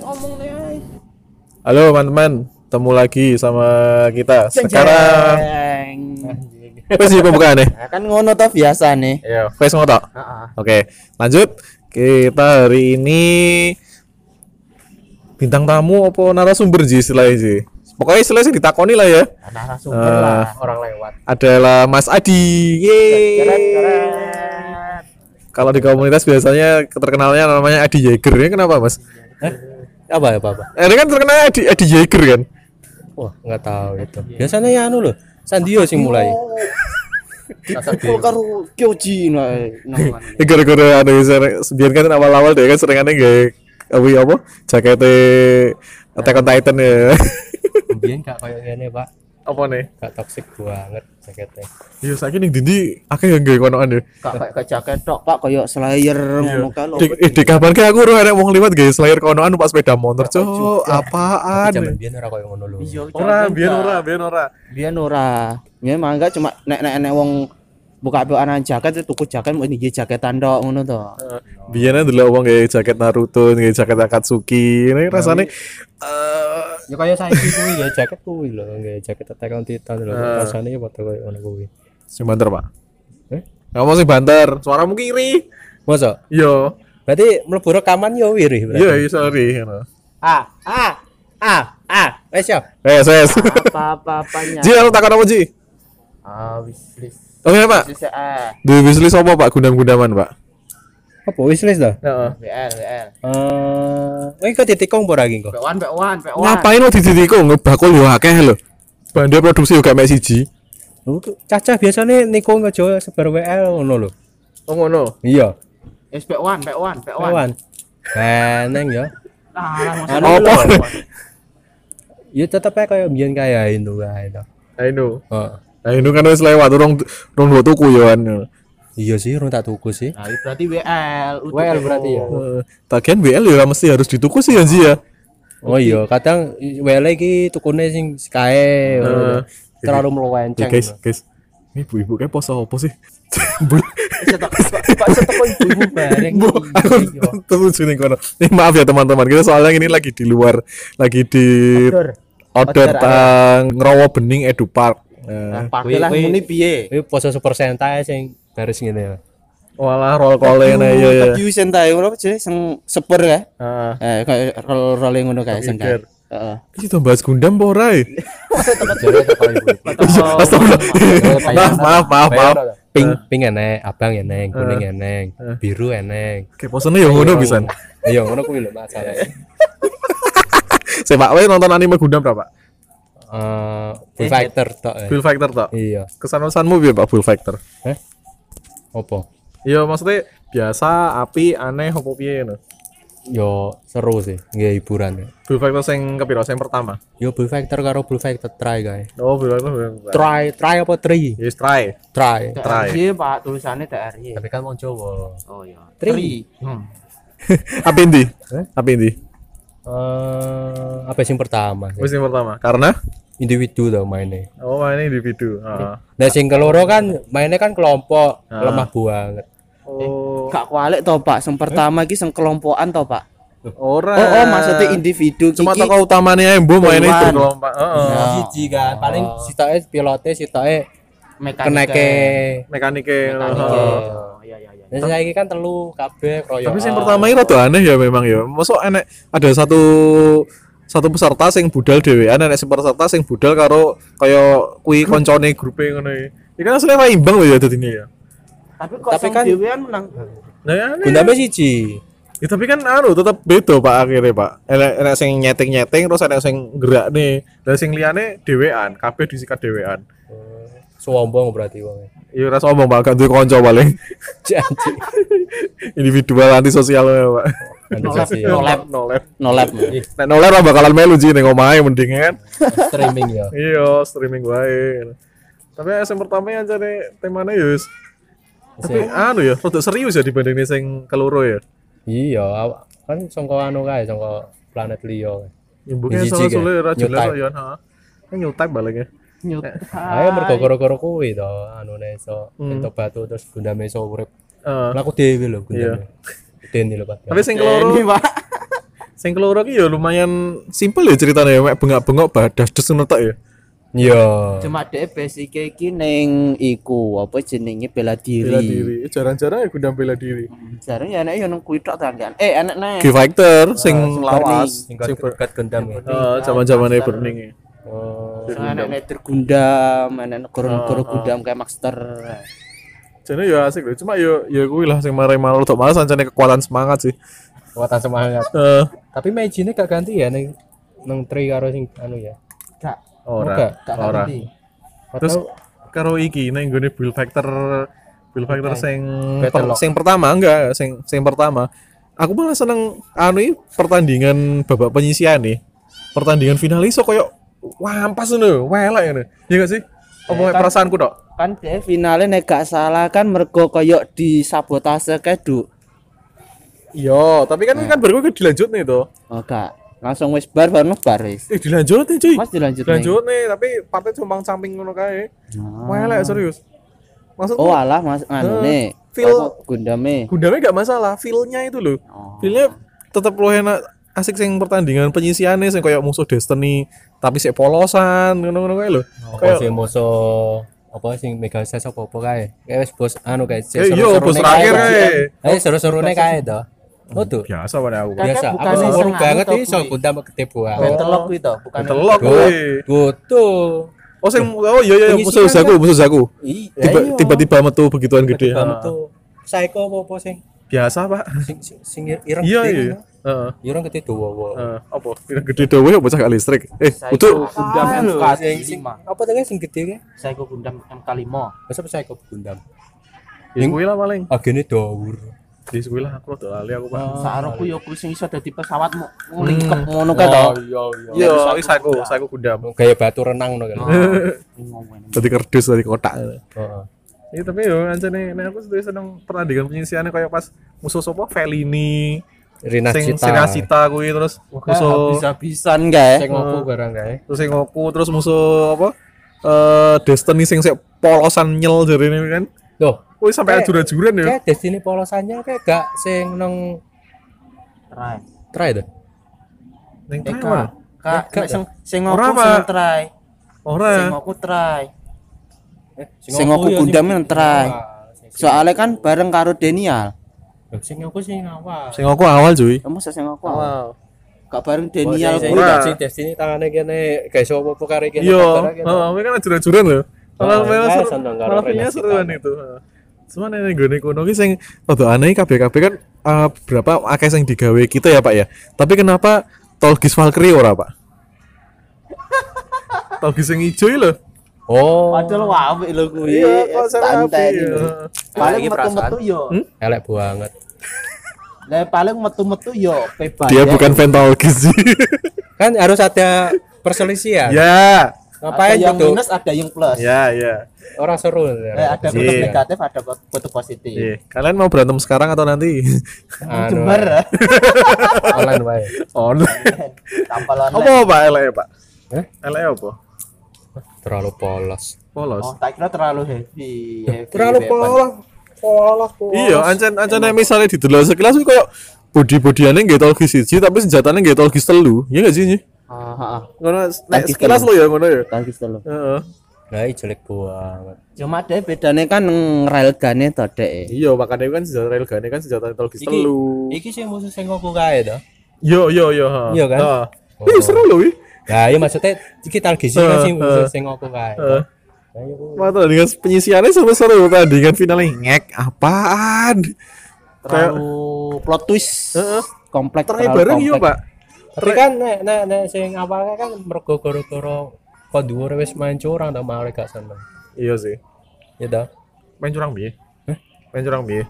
ngomong nih ay. Halo teman-teman, ketemu lagi sama kita Jeng, sekarang. jeng. Wes sih pembukaan nih. Nah, kan ngono toh biasa nih. Iya, wes ngotok. Heeh. Oke, lanjut. Kita hari ini bintang tamu apa narasumber sih istilahnya sih. Pokoknya istilahnya sih ditakoni lah ya. Narasumber Eh. lah orang lewat. Adalah Mas Adi. Yeay. Keren-keren. Kalau di komunitas biasanya terkenalnya namanya Adi Jaeger ya kenapa Mas? apa apa apa Eh, Ini kan terkenalnya Adi Adi Jaeger kan. wah nggak tahu itu biasanya ya anu loh Sandio sih mulai Dipukul karo Kyoji nah, eh, namanya. Ya, gara-gara ada biar kan awal-awal dia kan seringannya gak apa ya, apa jaketnya Attack on Titan ya kemudian nggak kayak gini pak apa nih nggak toksik banget jaketnya iya saya nih dindi akeh yang gak konoan ya Kak kayak ke jaket tok, Pak, koyo slayer Iya. ngono kan. lho. di, eh, di kapan ke aku udah ada wong liwat guys slayer konoan numpak sepeda motor cok zaman apaan biyen ora kayak ngono loh Kan, eh. Iya, jangan ora biar enggak. ora biar ora Biyen ora. Biyen mangga cuma nek-nek-nek wong buka anak jaket tuku jaket mau ini jaketan tok ngono to. biar dulu wong kayak jaket Naruto kayak jaket Akatsuki ini rasanya eh, ya kayak saya kuwi ya jaket kuwi loh nggak jaket Attack on Titan loh Eh. rasanya ya pada kayak ngono kuwi sing banter pak Eh? kamu sih banter suaramu kiri masa yo berarti mlebu rekaman ya wirih berarti yo Iya, sorry ngono. ah ah ah ah wes siap wes wes Apa-apa-apanya. Eh, Ji aku takon apa Ji Ah, wis wis. Oke pak, Wis eh. di wishlist apa pak? Gundam-gundaman pak? apa wishlist dah WL WL. eh ini kok titik kong pora iki kok Pewan, pewan, pewan. Ngapain lo dititikku? Ngebakul yo akeh lho Bandai produksi juga mek siji cacah biasanya niko ngejo sebar WL ngono loh Oh ngono? iya Wis pewan, pewan, pewan. Kawan. Beneng ya. Apa? Ya tetep ae kaya mbiyen kaya itu kae to. Aino Heeh. Aino kan wis lewat, urung urung dua tuku yo kan Iya sih urung tak tuku sih. Nah, itu berarti WL. utuh WL PO. berarti ya? Eh, Tagihan BL yo mesti harus dituku sih ya Ji ya Oh iya, kadang wele iki tukune sing kae ngono. terlalu Ya melenceng. guys, guys Ini ibu-ibu kayak poso apa sih? Bu- Pak setekon ibu bareng. Bu, aku terus ini kono. Ini maaf ya teman-teman, kita soalnya ini lagi di luar, lagi di outdoor tang ngerowo bening edu park. Eh, Pakai lah Wih, wih. muni Nah, piye? Kuwi poso super sentai sing baris ngene. Walah roll call Iya, ya ya ya. Tapi wis entai ngono apa jenenge sing seper ya? Eh, kayak roll rolling ngono kae sing kae. Gear. Heeh. Iki to bahas Gundam apa ora? eh? Jare teko ibu. Astagfirullah. Maaf, maaf, maaf, maaf. Pink pink enek, abang enek, kuning enek, biru enek. Kayak posone ya ngono pisan. Ayo ngono kuwi lho masalahnya. Sepak wae nonton anime Gundam ta, Pak? Eh, Full Fighter tok. eh. Full Fighter tok. Iya. Kesan-kesanmu piye, Pak Full Fighter? Heh? Apa? Iya, maksudnya biasa, api, aneh, opo piye ngono. Yo seru sih, nggak hiburan ya. Full Fighter sing kepiro? Sing pertama. Yo Blue Factor karo Blue Factor try guys. Oh, Full Fighter. Full Fighter. Try, try apa try? Yes, try. Try. Try. TRY, Pak, tulisannya TRY. Tapi kan mau Jawa. Oh iya. Tri. Hmm. Apa ndi? Apa ndi? Eh, apa sih yang pertama? sih? Musim pertama. Karena Individu tau mainnya. oh, mainnya individu. Eh. Heeh. Nah, sing keloro kan mainnya kan kelompok, lemah banget. Oh, Gak kualik to, Pak. Sing pertama iki sing kelompokan to, Pak. ora. Oh, oh, maksudnya individu cuma iki. tokoh utamanya yang bu mainnya Dewan. berkelompok. Iya. Heeh. Ah. oh, Siji kan, paling sitoke pilotnya sitoke keneke. Mekaniknya. Mekanike. heeh. Oh, Iya, iya, iya. Nah, saiki kan telu kabeh kroyokan. Tapi yang pertama ini rada aneh ya memang ya. Masuk enek ada satu satu peserta sing budal dhewean enek sing peserta sing budal karo kaya kuwi koncone grupe ngono iki. Iki kan asline wae imbang lho ya dadine ya. Tapi kok Tapi sing kan- dhewean menang. Nah, ya, aneh. Gundamnya siji. Ya, tapi kan anu tetap beda Pak akhirnya Pak. Enek enek sing nyeting-nyeting terus enek sing gerak nih. Lah sing liyane dhewean, kabeh disikat dhewean. Sombong berarti wong. Ya ora sombong Pak, gak duwe kanca paling. Janji. Individual antisosial ya Pak. ya. Nolep. Nolep. Nolep. Nek nolep ora bakalan melu sih ning omahe mending kan. streaming ya. iya streaming wae tapi SM pertama yang cari temanya ya wis tapi anu ya rada serius ya dibanding sing keloro ya Iya, awak- kan songko anu kae, songko planet Leo. imbuknya salah Jijik ya? sulit ra New jelas type. kok ya ha kan new type baliknya Ayo mergo koro-koro kuwi to, anune iso entuk batu terus gundame iso urip. Eh, Lah aku dhewe lho gundame. Dene lho Pak. tapi sing keloro Ini, Pak. Sing keloro ki ya lumayan simpel ya ceritanya ya, mek bengak-bengok badas des ngono tok ya. Iya. Cuma dhek basic iki ning iku apa jenenge bela Bela diri. diri, jarang-jarang ya gundam bela diri. Eh. Jarang ya enek yo nang kuwi tok tanggan. Eh enek nek. G Fighter sing Wah, lawas, Singkat sing ber- kat gendam ya. eh, zaman-zamane burning ya. Oh. Sing Enek nek tergundam, enek goro-goro gundam kayak Maxter. Jadi ya asik loh, cuma yo ya kuwi lah sing mare malu tok malas ancane kekuatan semangat sih. Kekuatan semangat. Eh, Tapi Meiji-ne gak ganti ya neng neng tri karo sing anu ya. Gak Oke. ora, gak ora. ngerti. Terus Atau karo iki neng gue build factor build factor sing per, Battle Lock. sing pertama enggak sing sing pertama. Aku malah seneng anu iki pertandingan babak penyisian nih. Pertandingan final iso koyo wampas ngono, welek ngono. Iya gak sih? Apa perasaanku tok? Kan dhek finale nek gak salah kan mergo koyo disabotase kae duk. Iya, tapi kan kan baru gue dilanjut nih tuh. Oh gak. Langsung wis bar bar bar wis. Eh dilanjut nih cuy. Mas dilanjut. Neng. dilanjut nih, tapi partai cumbang camping ngono kae. Welek serius. Maksudku Oh alah Mas anu ne. feel- apa, gundame. gundamnya gak masalah feel-nya itu loh Oh. feel-nya tetep lu enak asik sing pertandingan penyisiannya sing kayak musuh Destiny tapi sik polosan ngono-ngono kae lho apa kayak sing musuh apa sing mega ses apa apa kae. Kayak wis bos anu kae. Eh, iya, bos terakhir Hmm. Eh seru-serune kae to. Oh tuh. biasa pada aku Kayak Biasa. bukan Aku seru senang banget atau iki iso kuwi. gundam ketip Oh. wae. Mentelok kuwi to, bukan telok kuwi Goto. oh sing oh iya iya Penyisian musuh Zaku musuh Zaku kan? Iya. Tiba- tiba-tiba metu begituan gede Kamu Ha. tuh psycho apa apa sing biasa pak sing sing- sing ireng iya gede iya kan? Heeh. Ireng gede dawa wa. Heeh. apa Pirang gede dowe apa cakak listrik eh utuh gundam MK Sing sing apa tuh kan sing gede kan? Saya ke gundam MK5. Masa psycho gundam. ya kuwi lah paling Agene dawur. di kuwi lah aku udah lali aku Oh. pak Saroku yo kuwi sing iso dadi pesawat mu nglingkep Oh, ngono kae to. Iya iya. iya iki Zaku Zaku gundam Kayak batu renang no kan. Oh. Oh, tadi kerdus dari kotak Heeh. Iya tapi yo anjane nek aku setuju seneng pertandingan penyisiannya kayak pas musuh sopo Felini, sing Rinascita. Sinasita kuwi terus musuh Bisa-bisan kae. Sing ngopo barang kae. terus sing Goku terus musuh apa eh Destiny sing sik polosan nyel jarine kan. Loh, Wih sampai Eh, Kayak- ajur-ajuran ya. kayak destiny polosannya kayak gak sing nang Try. try tuh. Ning Eka. Taiwan. Kak, Eka, nek sing sing Ora, ngoku Pak. sing try. Sing Ora. ngoku try. Eh, Sing aku ya, gundam sing- yang try. Ah, sing- Soale kan bareng karo Denial. Loh, Sing aku sing awal. Sing Goku awal cuy. Kamu sing aku. Awal. Gak bareng Oh, Denial sing- sing- kuwi. Ora. sing Destiny tangannya kene guys apa-apa kare kene. Iya, kare kene. heeh, kuwi kan ajur-ajuran lho. Malah gitu. Oh, malah saya seru. seneng karo Malah filmnya Renascita. seruan itu. heeh. Cuma nek ning gone kono ki sing rada aneh kabeh-kabeh kan eh, berapa akeh sing digawe kita ya Pak ya. Tapi kenapa Tolgis Valkyrie ora Pak? Tolgis sing ijo iki lho. Iya, Oh, Padahal wae apik lho kuwi. santai Iya, Santai. Iya. Paling metu-metu yo. elek banget. Lah paling metu-metu yo bebas. Dia bukan fan Iya. Tolgis sih. Kan harus ada perselisihan. ya. Ada Ngapain yang gitu? minus, ada yang plus. Ya, ya. Orang seru. ya. Eh, ada bentuk Iya. negatif, ada bentuk positif. Iya. Kalian mau berantem sekarang atau nanti? Anu, Jember. ya. online wae. Online. Tampal online. Apa Pak LE, Pak? Eh? LE apa? Terlalu polos. Polos. Oh, tak kira terlalu heavy. heavy weapon. Polos. Iya, ancen ancen misalnya didelok sekilas kuwi koyo body-bodiane nggih Tolgis siji tapi senjatane nggih Tolgis telu. Iya enggak sih? Nyi? Ah, ah, ah. Ngono nek Tolgis sekilas lo ya ngono ya. Tangkis dulu. Heeh. Lah, iya, jelek banget. Cuma deh bedanya kan neng railgunnya to deh. Iya, makanya kan senjata railgun kan senjata Tolgis Iki, telu. iki sih musuh sing aku kae to. Yo yo yo. ha. Iya kan? Ha. Oh. Ih, seru loh, wih. Nah, iya maksudnya iki target sih kan Eh, sing eh. musuh sing aku kae. Eh. Lah, iya, Bu. Mata dengan penyisiannya seru-seru pertandingan finalnya ngek apaan? Terlalu plot twist. Heeh. Kompleks. Ternyata terlalu bareng iya kompleks. pak. Tapi kan nek nek nek sing awalnya kan mergo gara-gara kon dhuwur wis main curang ta malah gak seneng. Iya sih. Ya ta. Main curang biye. Main curang biye.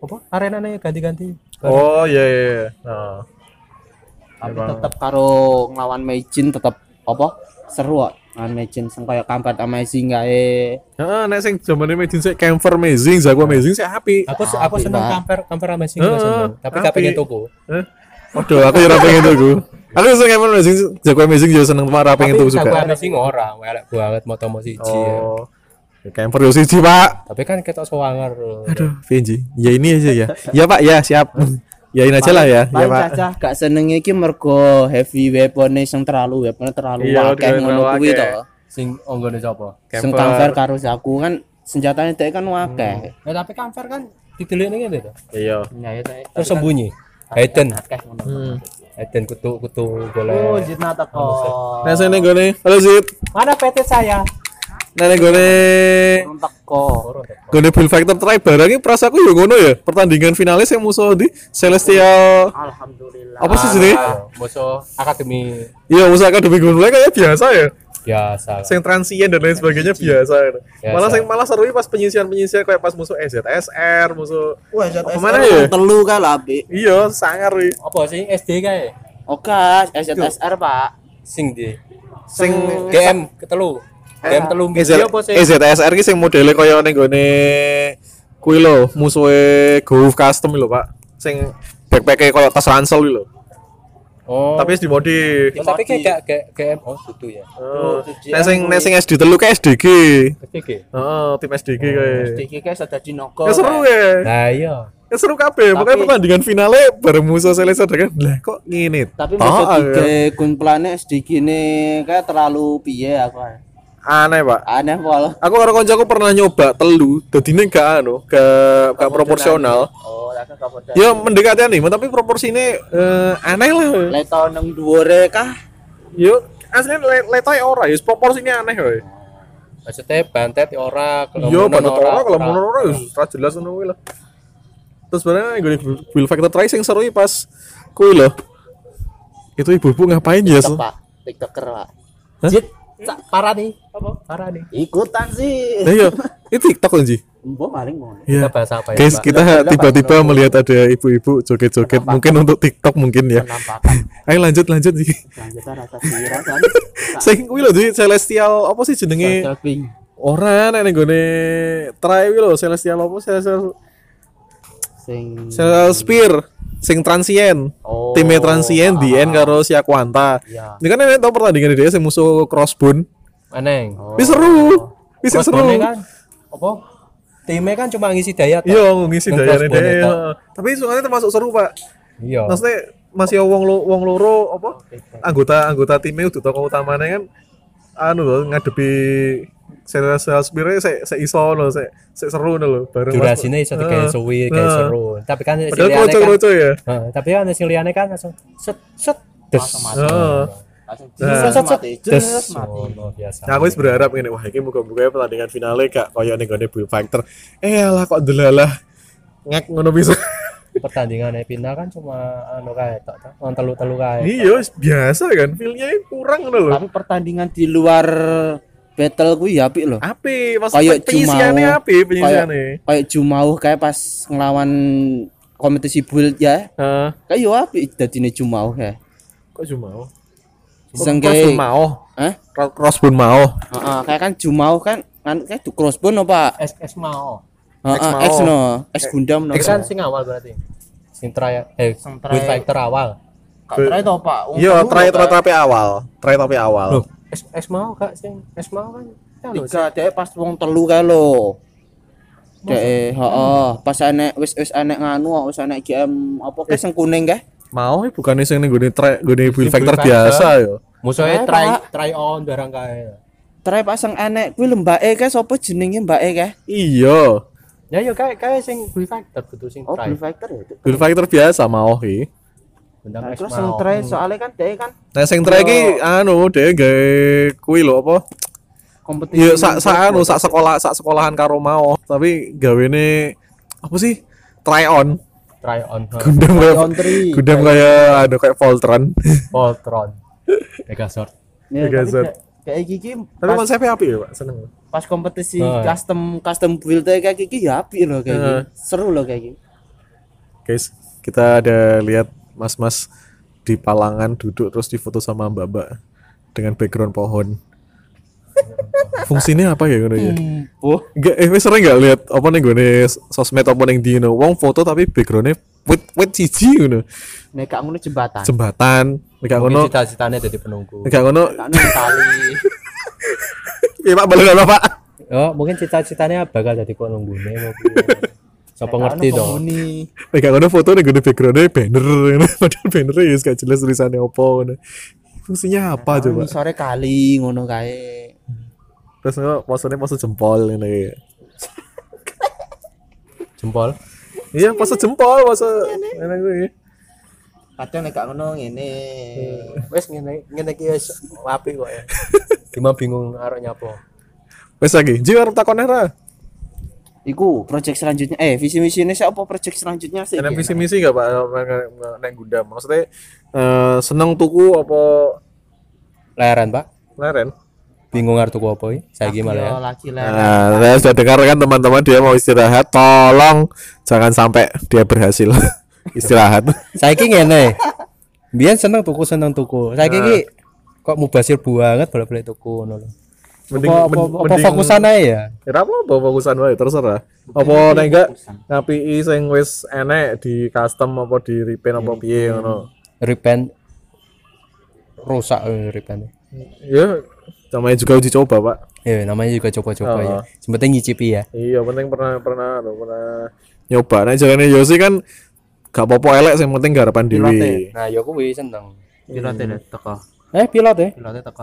Apa arenane ganti-ganti? Oh iya iya. iya. Nah. Tapi tetap karo nglawan Meijin tetap apa? Seru kok. Nglawan Meijin sing kayak kampat amazing gae. Heeh, nek sing zamane Medin sik Camper Amazing, Jago Amazing sik api. Aku aku Api, seneng Ah, Pak. kamper kamper sama sing Eh, seneng. Tapi gak api. pengen tuku. Heh. Waduh, aku ya ora pengen tuku. Aku seneng Camper Amazing, Jago Amazing yo seneng marah pengen tuku juga. Tapi aku sing ora, elek banget motomo siji. ya. Oh. Ya, Camper yo siji, Pak. Tapi kan ketok sowanger. Aduh. Aduh, Benji. Ya ini aja ya. Ya Pak, ya siap. Yain aja lah ya, ya Paling Pak. cacah gak seneng iki mergo heavy weapon sing terlalu weapon terlalu Iya, akeh terlalu ngono kuwi akeh. to. sing onggone sapa Sing kamfer karo Zaku kan senjatanya dhek kan akeh. nah tapi kamper kan didelik ning ngene to Iya. Ya ya Hmm. terus sembunyi Hayden Nah, akeh ngono. Hayden kutu kutu Oh, boleh Zidna teko. Nah, saya nih gue Halo Zid. Mana PT saya? Nah, nih gue Teko. Gue full factor terakhir barangnya perasa aku ya ngono ya. Pertandingan finalis yang musuh di Celestial Alhamdulillah. apa sih sini? musuh Ah, akademi Iya, musuh akademi Gunplay kayak biasa ya. biasa Yang transien dan lain sebagainya biasa. ya. Biasa. Malah yang malah seru pas penyisian-penyisian kayak pas musuh E EZSR, musuh Wah, Apa mana ya? Telu kae lah, Bi. Iya, sangar wih. apa sih SD kae Oke, SZSR, Pak. sing di Sing E GM ketelu GM telu EZ, Iya, apa sih EZSR ki sing modele kaya ning gone kuwi lho, musuhe Golf Custom lho, Pak. Sing backpack kaya tas ransel kuwi lho. oh Tapi wis dimodif. Ya, tapi kayak gak- gak- GM oh kutu ya Oh, Nek sing nek sing SD telu ke SDG. SD ge Heeh, tim SDG kae. Sedikit kae sudah dinoko. Ya seru ya. nah iya Ya seru kabeh. Pokoknya pertandingan finale bareng musuh Selesa dengan lah kok ngene. Tapi tok, masuk ya. tiga gunplane sedikit nih kayak terlalu piye aku. ah. aneh, Pak. Aneh pol. Aku karo kancaku pernah nyoba telu, dadine gak anu, gak gak proporsional. Oh, lha kan kabeh. Ya mendekati anime tapi proporsinya eh, aneh lah. Leto nang dhuwure kah? Yo, aslinya le letoy ora, ya proporsinya aneh wae. maksudnya bantet ya ora Yo, kelemunan banget ora kalau ora. menurut ora ya ra jelas ngono kuwi lah. Terus sebenarnya gue build factor tracing seru ya pas kuwi loh. Itu ibu-ibu ngapain ya? Su? Pak. TikToker, Pak. Jit, sa- parah nih. Apa? Parah nih. Ikutan sih. Nah, yo, itu TikTok loh, Ji. Mbok paling ngono. Kita Iya. bahas ya? apa ya, Guys, Pak? kita tiba-tiba melihat ada ibu-ibu joget-joget mungkin untuk TikTok mungkin ya. Penampakan Ayo lanjut lanjut Ji. lanjutan rasa kira kan. Sing kuwi lho Ji, Celestial apa sih jenenge? Surfing. Ora nek ning gone try kuwi lho Celestial apa Celestial Sing Saya Spear sing transien. Oh. Timnya transien Dien karo si Akwanta. Iya. Ini kan enak tau pertandingan dia sing musuh Crossbone. Aneng. Wis seru. Wis Oh. Mas seru. Bone kan apa? Timnya kan cuma ngisi daya. toh. Iya ngisi Nang dayane Crossbone ya, dia. iya. Pak. Tapi soalnya termasuk seru, Pak. Iya. Maksudnya masih wong lo, wong loro apa? Anggota-anggota timnya udah tokoh utamanya kan anu loh ngadepi saya saya Spear saya saya iso loh saya saya seru loh bareng Mas- Durasinya bisa tiga Heeh. suwi, tiga Heeh. seru. Tapi kan si Padahal liane kan. kocok-kocok ya. Heeh, tapi kan si liane kan langsung set set des. Heeh. Langsung Nah. jelas mati. Des. Jelas mati. Sono biasa. Nah, aku wis berharap ngene, wah iki muga-muga pertandingan finale gak koyo ning gone Bull Factor. Eh alah kok delalah. Ngek ngono bisa. Pertandingan final kan cuma anu kae tok tok. Wong telu-telu kae. Iya, wis biasa kan feel-nya kurang ngono lho. Tapi pertandingan di luar battle kuwi ya apik lho. Api, mas Kayak penyisiannya Jumao. api, penyisiannya. Kayak jumauh kayak pas ngelawan kompetisi build ya. Heeh. Kayak yo apik dadine jumauh ya. Kok Jumao? Sing Crossbone kayak Mao. Hah? Cro- Crossbone Mao. Heeh, kayak kan jumauh kan kan kayak du crossbone apa? SS mau. Heeh, Mao. X no, X Gundam no. Itu kan sing awal berarti. Sing try eh Sing try- Street Fighter awal. Kak try to, Pak. Wong Iya, telu try lho, try Pak. tapi awal. Try tapi awal. Loh, es, es mau kak sing es mau kan? Kan lho, Tiga dek pas wong telu kae lho. Dek heeh, pas enek wis wis enek nganu, wis enek GM apa Eh. kae sing kuning kae. Mao iki bukannya sing ning gone try gone Bull Bull Factor Factor. biasa ya. musuhnya Eh, try Pak. try on barang kae. Try pas sing enek kuwi lembake kae sapa jenenge mbake kae? Iya. Ya yo kae kae sing Blue Factor kudu sing Oh, try. Blue Factor ya. Dek. Bull Factor biasa Mao iki. Bendang Nah, es Terus sing mau. try soalnya kan dek kan Nah, sing try iki anu dhewe gawe kuwi lho apa? kompetisi. Iya, sak sak anu sak sekolah sak sekolahan karo mau, tapi gawene apa sih? Try on. Try on ha. Gundam kayak Country. Gundam kayak ada kayak Voltron. Voltron. Megazord. Ya, Tiga tapi set. dek, Kayak gigi tapi pas, konsepnya apik ya, Pak. Seneng. pas kompetisi Ah. custom custom build kayak gigi ya apik lho kayak gini. Ah. Seru lho kayak gini. Guys, kita ada lihat mas-mas di palangan duduk terus difoto sama mbak-mbak dengan background pohon. Fungsinya apa ya ngono ya? Oh, Enggak, eh, wis sering gak lihat apa nih gue sosmed apa nih di ngono? wong foto tapi backgroundnya wet wet cici ngono. nek gak ngono jembatan. jembatan nek gak ngono Mungkin cita-citanya jadi penunggu. nek gak ngono Gak ngono tali. ya Pak balik apa Pak Oh, mungkin cita-citanya bakal jadi penunggu nih. Siapa ngerti to? Penghuni. Nek gak ngono foto nih gede backgroundnya banner ngono. Padahal bannernya ya gak jelas tulisannya apa ngono. Fungsinya apa coba? Ini sore kali ngono kae. Terus ngono posenya pose jempol ngono ya. Jempol. Iya pose jempol pose Iya, ngono kuwi. Kadang nek gak ngono ngene. Hmm. Wes ngene ngene iki wis apik kok ya. Cuma bingung arek nyapo. Wes lagi, jiwa arep takone ra. Iku project selanjutnya eh visi misi ini apa project selanjutnya Iya, sih? Ada visi misi gak Pak nek Gundam? Maksudnya eh, seneng tuku apa Leren, Pak. leren? Bingung arek tuku apa iki? Saiki malah ya. Yo, laki lah. Nah, saya sudah dengar kan teman-teman dia mau istirahat, tolong jangan sampai dia berhasil istirahat. Saiki ngene. Biyen seneng tuku seneng tuku. Saiki iki kok mubasir banget bolak-balik tuku ngono lho. Mending, Apa apa, apa fokusan ae ya? Ya apa apa fokusan wae terserah. Apa nek enggak ngapiki sing wis enek di custom apa di repaint apa piye ngono. Repent rusak eh, repent. Ya namanya juga uji coba, Pak. Ya namanya juga coba-coba ya. Oh. Yang penting ngicipi ya. Iya, penting pernah pernah lho, pernah nyoba. Nek jarane Yosi kan gak apa-apa elek sing penting garapan dhewe. Nah, ya kuwi seneng. Hmm. Pilote lho teko. Eh, pilot ya. Pilote teko.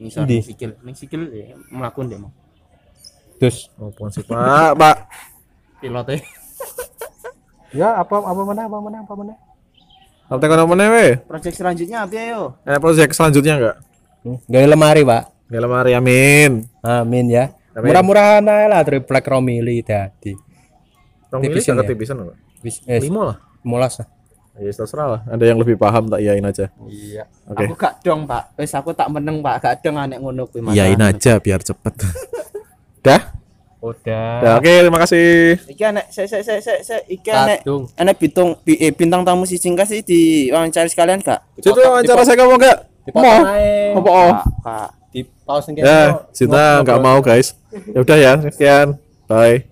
Ngisor Ndi? sikil. Ning sikil ya mlakun deh mau. Terus Apa sih, Oh, Pak? Pak. Pilote. ya apa apa mana apa mana apa mana? Apa tekan meneh we? Project selanjutnya apa ya yo? Enak proyek selanjutnya enggak? Hmm? Gawe lemari, Pak. Dalam hari amin. Amin ya. Amin. Murah-murahan ae lah dari Black Romili tadi. Tong pilih Tipisan sangat ya? tipisan lho. Wis eh Limo lah. mulas lah. Ya terserah lah. Ada yang lebih paham tak yain aja. Iya. Oke. Aku gak dong, Pak. Wis aku tak meneng, Pak. Gak dong anek ngono kuwi, Mas. aja biar cepet. Dah? Udah. Dah, oke, terima kasih. Iki anek sek sek sek sek sek iki anek Kadung. anek bitung bi- eh, bintang tamu si Cingkas sih di wawancara sekalian gak? Situ wawancara saya kamu enggak? Mau. Dipotong ae. Apa oh? Pak, Pak. Di pause ngene. Dạ, Ya, Cinta enggak mau, guys. Ya udah ya, sekian. Bye.